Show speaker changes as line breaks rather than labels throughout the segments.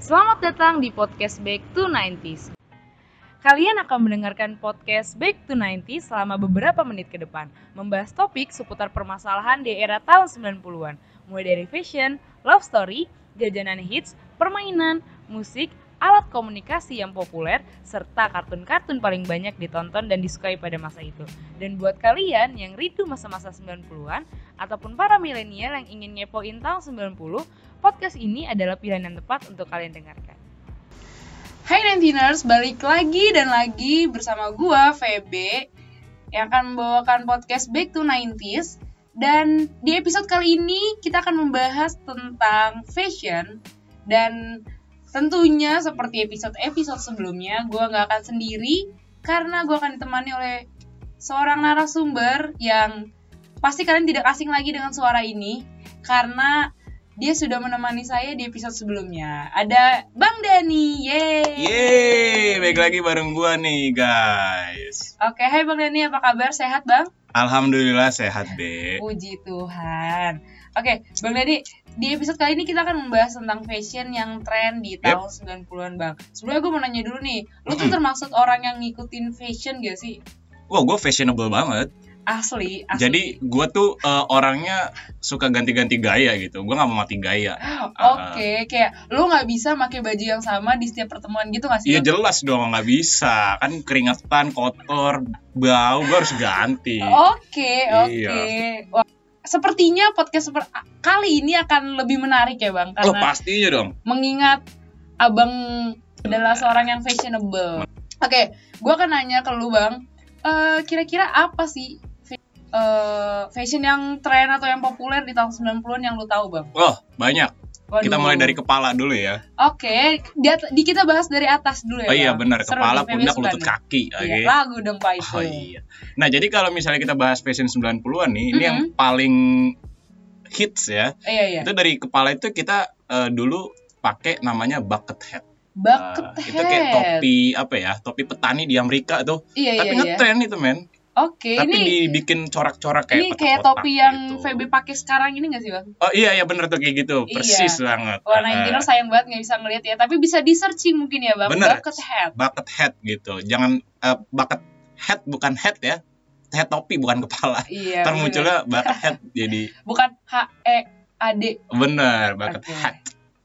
Selamat datang di podcast Back to 90s. Kalian akan mendengarkan podcast Back to 90s selama beberapa menit ke depan, membahas topik seputar permasalahan di era tahun 90-an, mulai dari fashion, love story, jajanan hits, permainan, musik, alat komunikasi yang populer, serta kartun-kartun paling banyak ditonton dan disukai pada masa itu. Dan buat kalian yang rindu masa-masa 90-an, ataupun para milenial yang ingin ngepoin tahun 90, podcast ini adalah pilihan yang tepat untuk kalian dengarkan. Hai Nineteeners, balik lagi dan lagi bersama gua VB yang akan membawakan podcast Back to 90s dan di episode kali ini kita akan membahas tentang fashion dan tentunya seperti episode-episode sebelumnya gua nggak akan sendiri karena gua akan ditemani oleh seorang narasumber yang pasti kalian tidak asing lagi dengan suara ini karena dia sudah menemani saya di episode sebelumnya. Ada Bang Dani, yeay!
Yeay, baik lagi bareng gua nih guys.
Oke, hai Bang Dani, apa kabar? Sehat Bang?
Alhamdulillah sehat be.
Puji Tuhan. Oke, Bang Dani, di episode kali ini kita akan membahas tentang fashion yang tren di
Yap.
tahun 90-an Bang. Sebelumnya gue mau nanya dulu nih, lu tuh termasuk orang yang ngikutin fashion gak sih?
Wah, gua fashionable banget.
Asli, asli.
Jadi gua tuh eh, orangnya suka ganti-ganti gaya gitu. Gua nggak mau mati gaya.
Oh,
uh,
Oke, kayak lu nggak bisa pakai baju yang sama di setiap pertemuan gitu nggak sih?
Iya
Bang?
jelas dong nggak bisa. Kan keringetan, kotor, bau, gua harus ganti.
Oh, Oke,
Iya.
oke. Wah, Sepertinya podcast seper- kali ini akan lebih menarik ya Bang
Lo
karena
pastinya dong.
mengingat abang adalah seorang yang fashionable. Oke, gua akan nanya ke lu bang, Eh, kira-kira apa sih fa- eh, fashion yang tren atau yang populer di tahun 90-an yang lu tahu bang?
Oh, banyak.
Waduh.
Kita mulai dari kepala dulu ya.
Oke, di, at- di kita bahas dari atas dulu ya.
Oh iya
Bang.
benar,
Seru nih,
kepala,
Feby
pundak,
suka
lutut,
nih.
kaki. Oke.
Iya, lagu dong pak itu.
Oh iya. Nah, jadi kalau misalnya kita bahas fashion 90-an nih, ini
Mhm.
yang paling hits ya.
Iya iya.
Itu dari kepala itu kita eh, dulu pakai namanya bucket hat.
Bucket
Eh, itu kayak
hat.
topi apa ya? Topi petani di Amerika tuh.
Iya
Tapi
iya iya.
ngetren itu, men.
Oke,
Tapi
ini
dibikin corak-corak kayak
ini kayak
kotak-kotak
topi yang
gitu.
Feby pakai sekarang ini gak sih bang?
Oh iya iya bener tuh kayak gitu.
Iya.
Persis banget.
Warna
Eh,
dinner sayang banget nggak bisa ngeliat ya, tapi bisa di searching mungkin ya bang.
Bener.
Bucket hat.
bucket hat gitu. Jangan eh, bucket hat bukan hat ya. Hat topi bukan kepala.
Iya.
Ntar
bener.
munculnya bucket hat jadi
Bukan H E A D.
Bener, bucket
Oke.
hat.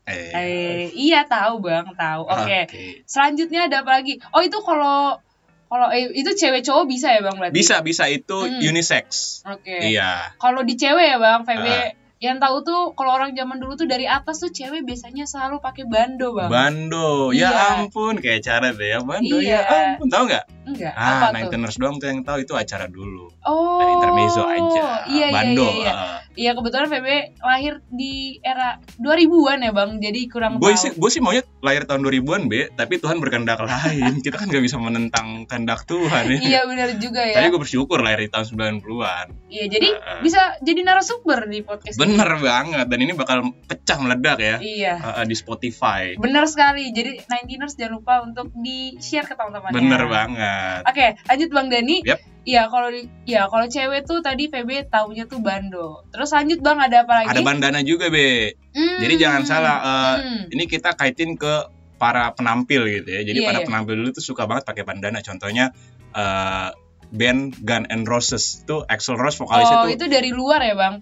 Eh,
Eh, iya tahu bang, tahu. Oke.
oke.
Selanjutnya ada apa lagi? Oh itu kalau kalau eh, itu cewek cowok bisa ya bang berarti?
Bisa bisa itu
Hmm.
unisex.
Oke.
Iya.
Kalau di cewek ya bang, VB
Ah.
yang tahu tuh kalau orang zaman dulu tuh dari atas tuh cewek biasanya selalu pakai bando bang.
Bando.
Iya.
Ya ampun, kayak acara deh ya Bando.
Iya.
Ya ampun, tahu nggak?
Enggak.
Ah,
apa tuh?
Ninteners doang tuh yang tahu itu acara dulu.
Oh.
Dari intermezzo aja. ah.
Iya,
Bando.
Iya, iya, iya. Iya, kebetulan VB lahir di era 2000-an ya bang, jadi kurang
Gue
tahu.
sih, gue sih maunya lahir tahun 2000-an, Be. Tapi Tuhan berkehendak lain. Kita kan nggak bisa menentang kehendak Tuhan ya.
Iya benar juga ya.
Tapi gue bersyukur lahir di tahun 90-an.
Iya, jadi
Ah.
bisa jadi narasumber di podcast. ini.
Bener banget. Dan ini bakal pecah meledak ya.
Iya.
Ah, ah, di Spotify.
Bener sekali. Jadi 19ers jangan lupa untuk di-share ke teman-temannya.
Bener banget.
Oke, lanjut Bang Dani.
Yap.
Iya, kalau di- ya kalau cewek tuh tadi PB taunya tuh bando. Terus lanjut Bang ada apa lagi?
Ada bandana juga, Be.
Hmm.
Jadi jangan salah, eh,
Hmm.
ini kita kaitin ke para penampil gitu ya. Jadi
Iya,
para
iya.
penampil dulu tuh suka banget pakai bandana. Contohnya eh, band Gun and Roses tuh Axl Rose vokalisnya
Oh,
tuh
itu dari luar ya, Bang?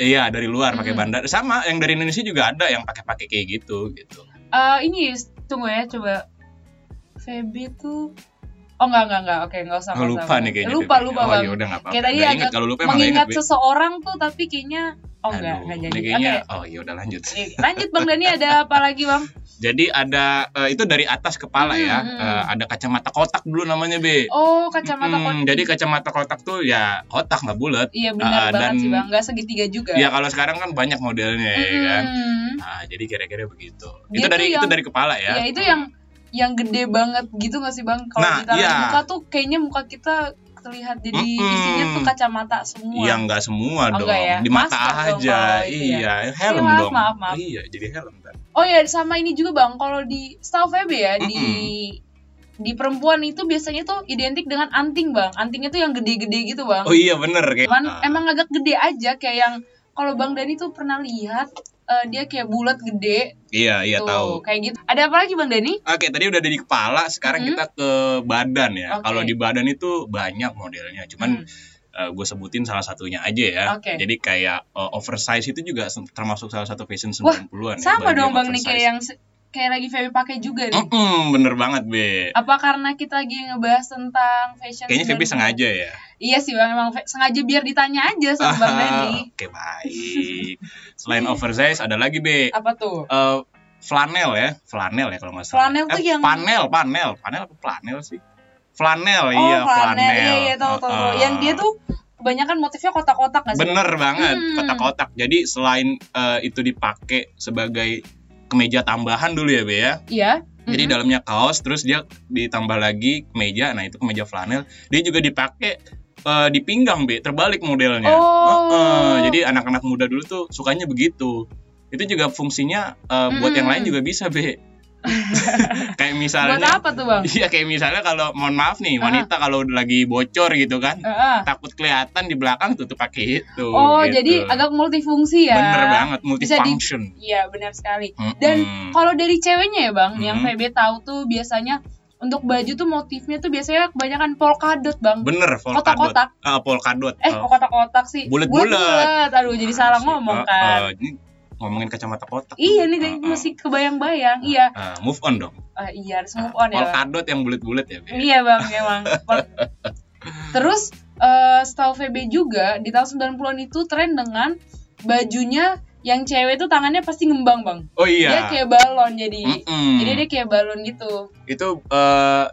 iya dari luar pakai
Mm.
bandana. Sama yang dari Indonesia juga ada yang pakai-pakai kayak gitu gitu.
Eh, ini tunggu ya, coba. PB tuh Oh enggak enggak enggak. Oke, enggak usah.
Oh,
enggak
lupa
usah.
nih kayaknya.
Lupa
Bebe.
lupa,
Oh
Bang.
ya udah enggak apa-apa.
Kayak tadi
Nggak ingat,
agak
kalau lupa emang nggak
Mengingat
ingat, Be.
seseorang tuh tapi kayaknya Oh enggak,
Aduh,
enggak
ini
jadi. Oke.
kayaknya oh ya udah lanjut.
Oke, Lanjut Bang Dani ada apa lagi Bang?
Jadi ada eh, itu dari atas kepala ya.
Mm, mm.
Eh, ada kacamata kotak dulu namanya, Be.
Oh kacamata
Mm,
kotak.
Jadi kacamata kotak tuh ya kotak nggak bulat.
Iya benar
Ah,
banget
dan-
sih bang, nggak segitiga juga.
Ya kalau sekarang kan banyak modelnya ya kan.
Mm-mm.
Nah, jadi kira-kira begitu.
Dia
itu dari
tuh
itu
yang-
dari kepala
Ya.
ya.
itu yang yang gede banget gitu nggak sih bang? Kalau
Nah,
kita lihat
iya.
muka tuh kayaknya muka kita terlihat jadi
Mm-mm.
isinya tuh kacamata semua.
Yang nggak semua
Oh,
dong,
nggak ya?
di mata
Masker dong
aja.
kalau itu ya.
iya, helm
maaf,
dong.
maaf, maaf.
Iya, jadi helm kan.
Oh ya sama ini juga bang, kalau di setahu VB ya di di perempuan itu biasanya tuh identik dengan anting bang. Antingnya tuh yang gede-gede gitu bang.
Oh iya bener kayak.
Cuman
Ah,
emang agak gede aja kayak yang kalau Bang Dani tuh pernah lihat eh, dia kayak bulat gede
Iya, iya
tuh
tahu.
kayak gitu. Ada apa lagi Bang Dani?
Oke, tadi udah ada di kepala, sekarang
Mhm.
kita ke badan ya.
Oke.
Kalau di badan itu banyak modelnya, cuman
Hmm.
gue sebutin salah satunya aja ya.
Oke.
Jadi kayak eh, oversize itu juga sen- termasuk salah satu fashion
Wah,
90-an ya.
sama
bagian
dong Bang nih
oversize.
kayak yang se- kayak lagi Feby pakai juga nih.
Mm-mm, bener banget, Be.
Apa karena kita lagi ngebahas tentang fashion?
Hmm. Kayaknya Feby
90-an?
sengaja ya.
Iya sih Bang, emang fe- sengaja biar ditanya aja sama Bang Dani.
Ah, Oke, baik. Selain oversize ada lagi, Be.
Apa tuh?
Eh, flanel ya, flanel ya kalau nggak salah.
Flanel tuh
Eh,
yang-
panel, panel, panel apa flanel sih? Flanel, iya
oh, flanel. Iya, iya, tahu, tahu, tahu.
Heeh.
Yang dia tuh kebanyakan motifnya kotak-kotak gak sih?
Bener banget,
Hmm.
kotak-kotak. Jadi selain eh, itu dipakai sebagai kemeja tambahan dulu ya, Be ya.
Iya.
Jadi
Mhm.
dalamnya kaos, terus dia ditambah lagi kemeja. Nah, itu kemeja flanel. Dia juga dipakai eh, di pinggang, Be, terbalik modelnya.
Oh.
Heeh, Jadi anak-anak muda dulu tuh sukanya begitu. Itu juga fungsinya eh, buat yang
Mm.
lain juga bisa, Be. kayak
Buat
misalnya
apa tuh Bang?
Iya, kayak misalnya kalau mohon maaf nih,
Ah.
wanita kalau lagi bocor gitu kan,
Heeh.
takut kelihatan di belakang tutup pakai itu.
Oh,
gitu.
jadi agak multifungsi ya.
Bener banget,
Bisa di-
multifunction.
Iya, benar sekali.
Mm-mm. Hmm.
Dan kalau dari ceweknya ya, Bang, yang
Mhm.
VB tahu tuh biasanya untuk baju tuh motifnya tuh biasanya kebanyakan polkadot, Bang.
bener polkadot.
Kotak-kotak.
Ah, polkadot.
Eh,
Ah.
kok kotak-kotak sih?
Bulet-bulet.
Bulet-bulet. Aduh, jadi salah
Sih.
ngomong
Ah,
kan.
ah, ini ngomongin kacamata kotak.
Iya nih, tadi
Ah, ah.
masih kebayang-bayang. Iya,
Ah, move on dong.
Ah, iya harus move on ya. Bang.
polkadot yang bulat-bulat ya, Be.
Iya bang, memang. Pol- Terus eh setahu VB juga di tahun 90-an itu tren dengan bajunya yang cewek itu tangannya pasti ngembang bang.
Oh
Dia
iya.
kayak balon jadi.
Mm-mm.
Jadi dia kayak balon gitu.
Itu eh,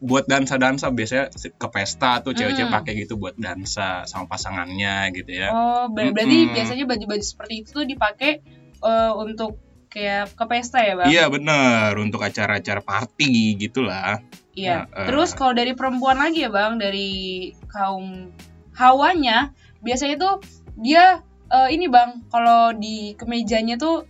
buat dansa-dansa biasanya ke pesta tuh cewek-cewek
Mm.
pakai gitu buat dansa sama pasangannya gitu ya.
Oh, ber- berarti
Mm-mm.
biasanya baju-baju seperti itu tuh dipakai eh, untuk kayak ke pesta ya bang?
Iya bener untuk acara-acara party gitulah.
Iya.
Nah, eh.
Terus kalau dari perempuan lagi ya bang, dari kaum hawanya biasanya tuh dia eh, ini bang, kalau di kemejanya tuh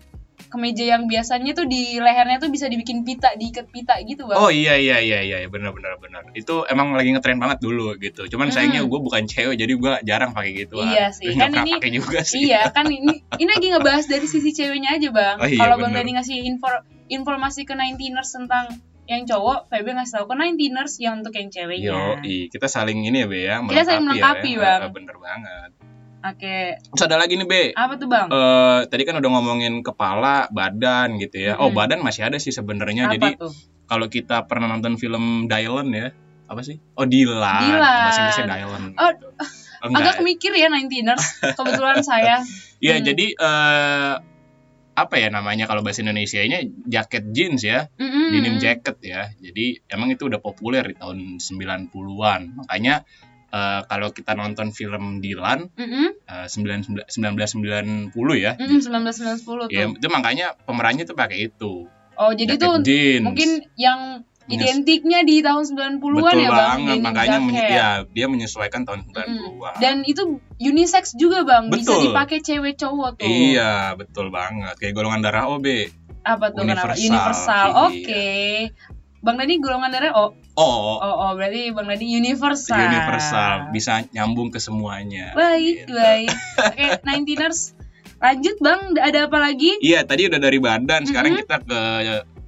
kemeja yang biasanya tuh di lehernya tuh bisa dibikin pita, diikat pita gitu bang.
Oh iya iya iya iya iya, benar benar benar. Itu emang lagi ngetren banget dulu gitu. Cuman
Mm.
sayangnya gue bukan cewek jadi gue jarang pakai gitu.
Iya sih,
Nggak
kan
pernah
ini-
pakai juga sih.
Iya kan ini ini lagi ngebahas dari sisi ceweknya aja bang.
Oh iya,
kalau bang
bener.
Dani ngasih info, informasi ke 19ers tentang yang cowok, Feby ngasih tahu ke 19ers yang untuk yang ceweknya.
Yo, iya. kita saling ini ya Be ya,
Iya. Kita saling melengkapi,
ya.
Bang.
Eh, Bener banget.
Oke,
Terus ada lagi nih Be.
apa tuh bang?
Eh, tadi kan udah ngomongin kepala, badan gitu ya. Oh,
Mm-mm.
badan masih ada sih sebenarnya.
apa
iya, Jadi
tuh?
kalau kita pernah nonton film Dylan ya, apa sih? Oh, Dylan.
Dylan.
Bahasa Inggrisnya Dylan.
Oh,
gitu. Enggak.
Agak mikir ya 19ers. Kebetulan saya
Iya,
Hmm.
jadi eh apa ya namanya kalau bahasa Indonesianya jaket jeans ya,
Mm-mm.
denim jacket ya. Jadi emang itu udah populer di tahun 90-an. Makanya eh, kalau kita nonton film Dylan
Mm-mm.
eh, 99 1990 ya.
Mm-mm, 1990 tuh.
Ya, itu makanya pemerannya tuh pakai itu.
Oh, jadi
jaket
tuh
jeans.
mungkin yang
Menyes-
identiknya di tahun 90-an
Betul
ya, Bang.
banget,
denim
makanya menye-
jacket.
ya, dia menyesuaikan tahun 90-an.
Dan itu unisex juga, Bang. Bisa
Betul.
dipakai cewek cowok tuh.
Iya, betul banget. Kayak golongan darah OB.
Apa tuh kenapa?
Universal.
Universal.
Iya.
Oke. Bang Dani golongan darah oh,
Oh,
oh, oh, berarti Bang Dani universal.
universal bisa nyambung ke semuanya.
Baik,
Gitu.
baik. Oke, 19ers. Lanjut, Bang. Ada apa lagi?
Iya, tadi udah dari badan, sekarang
Mhm.
kita ke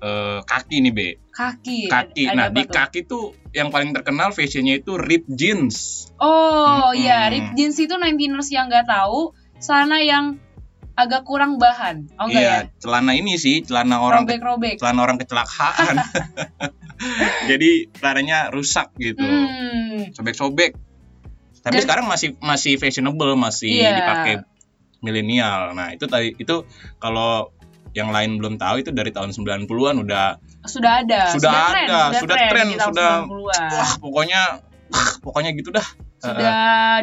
eh, kaki nih, Be.
Kaki.
Kaki.
Iya, Ada
Nah,
apa
di
tuh?
kaki tuh yang paling terkenal fashionnya itu ripped jeans.
Oh
Mm-mm.
iya, ripped jeans itu 19ers yang nggak tahu, celana yang agak kurang bahan. Oh enggak
Iya, celana ini sih, celana
ya.
orang
Robek-robek.
celana orang kecelakaan. Jadi celananya rusak gitu.
Hmm.
Sobek-sobek. Tapi
Dan-
sekarang masih masih fashionable, masih
Iya.
dipakai milenial. Nah, itu tadi itu kalau yang lain belum tahu itu dari tahun 90-an udah
Sudah ada.
Sudah
tren,
ada, sudah tren,
di tahun
sudah-
90-an.
wah pokoknya pokoknya gitu
Hmm.
dah.
Sudah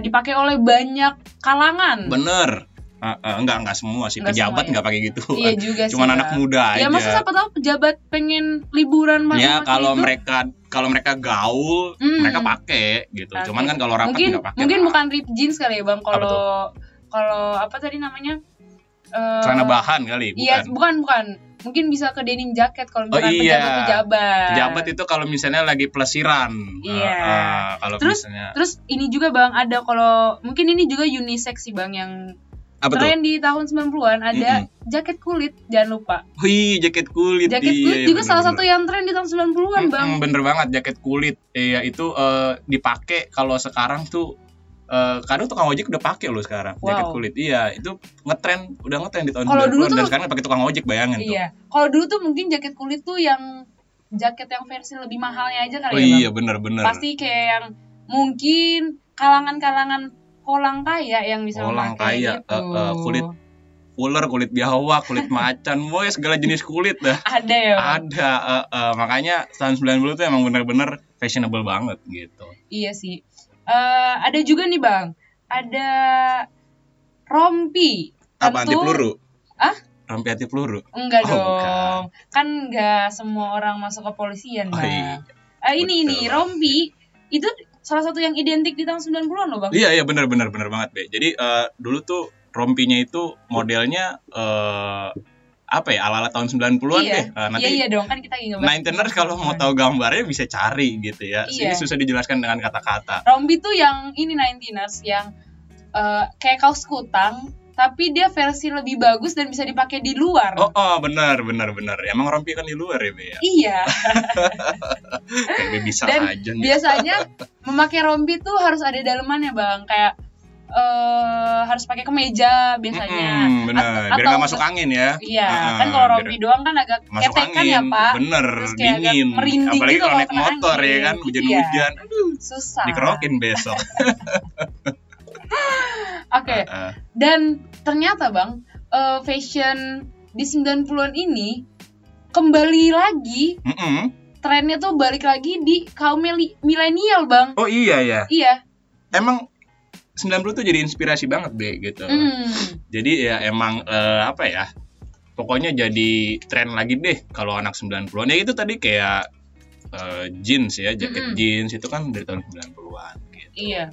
dipakai oleh banyak kalangan.
Bener. Ah, ah, enggak enggak semua sih
Enggak
pejabat
semua ya.
enggak pakai gitu.
Iya juga sih.
Cuman anak
Bang.
muda
Ya masa
aja.
siapa tahu pejabat pengen liburan malam
Ya kalau mereka kalau mereka gaul
Hmm.
mereka pakai gitu.
Pakai.
Cuman kan kalau rapat
mungkin
enggak pakai.
mungkin
lah.
bukan ripped jeans kali ya Bang
Apa tuh?
kalau kalau apa tadi namanya? Eh,
celana bahan kali, bukan.
Iya, bukan bukan. Mungkin bisa ke denim jacket kalau
Oh,
misalkan
iya.
pejabat-pejabat.
Pejabat itu kalau misalnya lagi pelesiran.
Iya.
Ah, ah, kalau
Terus-
misalnya
Terus ini juga Bang ada kalau mungkin ini juga unisex sih Bang yang
Apa tuh?
Tren di tahun 90-an ada jaket kulit, jangan lupa.
Wih, jaket kulit.
Jaket
iya,
kulit
iya,
juga salah satu
bener-bener.
yang tren di tahun 90-an, Bang.
Mm-mm, Iya, bener banget jaket kulit. Iya, itu eh, dipakai kalau sekarang tuh eh, kadang tukang ojek udah pakai loh sekarang jaket
Wow.
kulit. Iya, itu ngetren, udah ngetren di tahun
Kalau
90-an
dulu tuh-
dan sekarang pakai tukang ojek bayangin tuh.
Iya. Kalau dulu tuh mungkin jaket kulit tuh yang jaket yang versi lebih mahalnya aja kali
Oh
ya, Bang.
iya, bener-bener.
Pasti kayak yang mungkin kalangan-kalangan orang kaya yang bisa
Orang
memakai gitu.
kaya,
itu.
eh, eh, kulit. Ular, kulit biawak, kulit macan, boy segala jenis kulit dah.
Ada ya. Bang?
Ada eh, eh, makanya tahun 90 tuh emang bener-bener fashionable banget gitu.
Iya sih. Eh ada juga nih bang, ada rompi.
Apa anti
Tentu-
peluru?
Ah?
Rompi anti peluru.
Enggak
Oh,
dong,
bukan.
kan enggak semua orang masuk kepolisian
Oh,
bang.
iya.
Eh, ini
Betul,
ini
Bang.
rompi itu salah satu yang identik di tahun 90-an loh bang.
Iya iya benar benar benar banget be. Jadi eh, dulu tuh rompinya itu modelnya eh apa ya ala ala tahun 90-an
Iya.
deh. Eh, nanti
Iya iya dong kan kita nggak bahas tentang
Ninteners kalau mau
90-an.
tahu gambarnya bisa cari gitu ya.
Iya.
Ini susah dijelaskan dengan kata-kata.
Rompi tuh yang ini Ninteners yang eh, kayak kaos kutang tapi dia versi lebih bagus dan bisa dipakai di luar.
Oh, oh benar benar benar. Emang rompi kan di luar ya be ya.
Iya.
Kayak be bisa
Dan
aja gitu. nih.
biasanya memakai rompi tuh harus ada dalemannya bang kayak eh harus pakai kemeja biasanya
Mm-mm, benar.
At-
Biar
atau-
nggak masuk angin ya.
iya
Ah,
kan kalau
biar-
rompi doang kan agak
masuk
ketekan
angin
ya pak
bener
Terus kayak agak
dingin
merinding
apalagi
gitu
kalau
kalau
naik
kena
motor ya
angin. Iya.
kan hujan-hujan aduh
Hmm, susah oke
dikerokin besok Heeh.
dan ternyata bang eh, fashion di 90-an ini kembali lagi
Mm-mm.
trennya tuh balik lagi di kaum mili- milenial bang
oh iya ya
iya
emang 90 tuh jadi inspirasi banget deh gitu
Hmm.
jadi ya emang eh, apa ya pokoknya jadi tren lagi deh kalau anak 90-an ya itu tadi kayak eh, jeans ya jaket
Mm-mm.
jeans itu kan dari tahun 90-an gitu
iya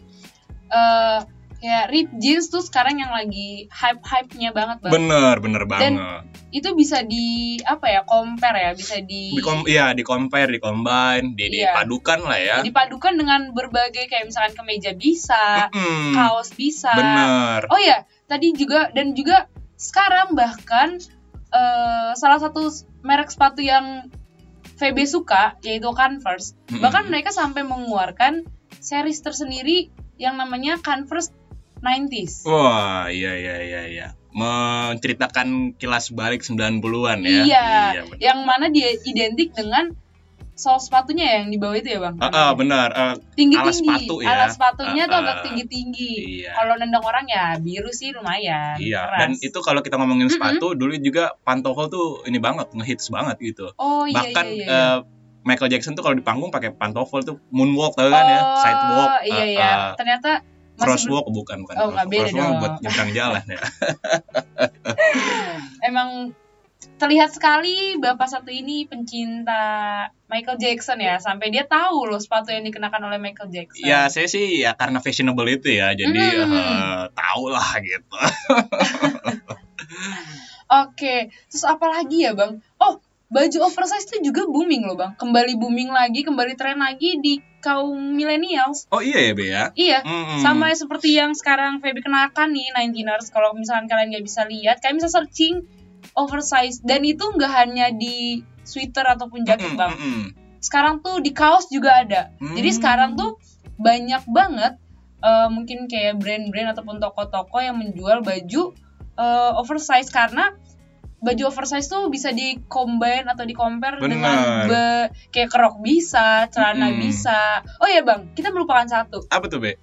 Eh kayak rip jeans tuh sekarang yang lagi hype hype nya banget bang
bener bener banget
itu bisa di apa ya compare ya bisa di,
di kom ya di compare di combine di
Iya.
dipadukan lah ya
dipadukan dengan berbagai kayak misalkan kemeja bisa
Mm-mm.
kaos bisa
Bener.
oh ya tadi juga dan juga sekarang bahkan eh, salah satu s- merek sepatu yang VB suka yaitu Converse
Mm-mm.
bahkan mereka sampai mengeluarkan series tersendiri yang namanya Converse 90s
Wah, iya iya iya iya. Menceritakan kilas balik 90-an ya.
Iya,
bener.
yang mana dia identik dengan sol sepatunya yang di bawah itu ya bang
Ah, ah, benar. Ah,
tinggi
alas
tinggi
sepatu ya.
alas sepatunya tuh
Ah,
agak
ah.
tinggi tinggi
iya.
kalau nendang orang ya biru sih lumayan
Iya,
keras.
dan itu kalau kita ngomongin
Mm-mm.
sepatu dulu juga Pantofel tuh ini banget ngehits banget gitu.
oh iya
Bahkan
iya, iya.
eh, Michael Jackson tuh kalau di panggung pakai pantofel tuh moonwalk tau kan ya,
Oh,
sidewalk,
iya
eh,
iya
eh,
ternyata masih
crosswalk bukan bukan
Oh, nggak beda
crosswalk
dong.
buat nyebrang jalan ya.
belum- emang terlihat sekali bapak satu ini pencinta Michael Jackson ya sampai dia tahu loh sepatu yang dikenakan oleh Michael Jackson
Ya saya sih ya karena fashionable itu ya, jadi
Mm.
eh, tau lah gitu.
Oke, terus apa lagi ya bang? Oh, baju oversize itu juga booming loh bang. Kembali booming lagi, kembali tren lagi di kaum millennials.
Oh iya ya Be ya.
Iya,
Mm-mm.
sama seperti yang sekarang Feby kenakan nih, 19ers. Kalau misalkan kalian nggak bisa lihat, kalian bisa searching oversize. Dan itu nggak hanya di sweater ataupun jaket
Mm-mm,
bang.
mm-mm.
Sekarang tuh di kaos juga ada. Jadi
Hmm.
sekarang tuh banyak banget eh, mungkin kayak brand-brand ataupun toko-toko yang menjual baju eh, oversize karena baju oversize tuh bisa di combine atau di compare
Benar. Hmm.
dengan be- kayak kerok bisa, celana
Mm-mm.
bisa. Oh ya Bang, kita melupakan satu.
apa tuh be?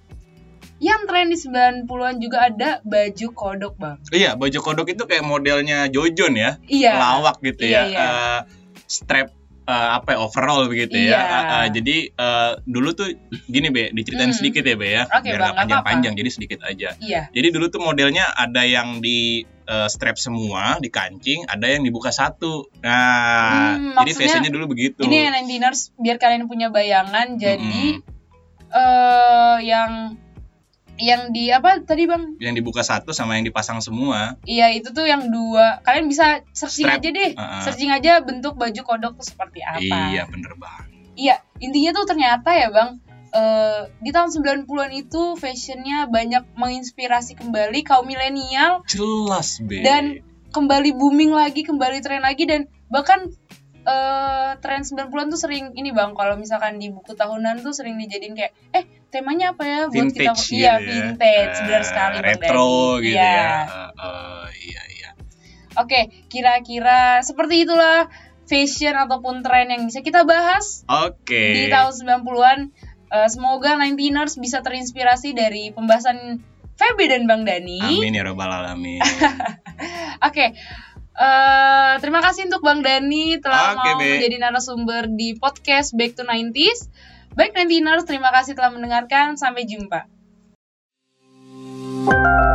Yang tren di 90-an juga ada baju kodok, Bang.
Iya baju kodok itu kayak modelnya Jojon ya,
Iya.
lawak gitu
Iya,
ya,
iya.
Eh, strap eh, apa ya, overall begitu
Iya.
ya. Eh, eh, jadi eh, dulu tuh gini be, diceritain
Mm.
sedikit ya be ya,
Oke, Bang,
biar nggak
nggak
panjang-panjang, jadi sedikit aja.
Iya.
Jadi dulu tuh modelnya ada yang di eh, strap semua, dikancing, ada yang dibuka satu. Nah,
Hmm,
jadi
maksudnya
fashionnya dulu begitu.
Ini yang diners biar kalian punya bayangan. Jadi
Mm-mm.
eh yang yang di apa tadi, Bang?
yang dibuka satu sama yang dipasang semua.
Iya itu tuh yang dua. Kalian bisa searching
Strap. Ah.
aja deh.
Heeh.
Searching aja bentuk baju kodok tuh seperti apa.
Iya bener banget.
Iya, intinya tuh ternyata ya bang, eh, di tahun 90-an itu fashionnya banyak menginspirasi kembali kaum milenial
Jelas, Be.
Dan- kembali booming lagi kembali tren lagi dan bahkan eh, tren 90-an tuh sering ini bang kalau misalkan di buku tahunan tuh sering dijadiin kayak eh temanya apa ya buat kita
vintage
iya
gitu ya.
vintage benar
Eh,
sekali Bang
Retro
Dani.
gitu
Iya.
ya. Eh, eh, iya, iya.
oke kira-kira seperti itulah fashion ataupun tren yang bisa kita bahas
Oke.
di tahun 90-an. eh, semoga 19ers bisa terinspirasi dari pembahasan Feby dan Bang Dani.
Amin ya robbal alamin.
Oke. eh, terima kasih untuk Bang Dani telah
Oke,
mau
Be.
menjadi narasumber di podcast Back to 90s. Baik 19ers, terima kasih telah mendengarkan. Sampai jumpa.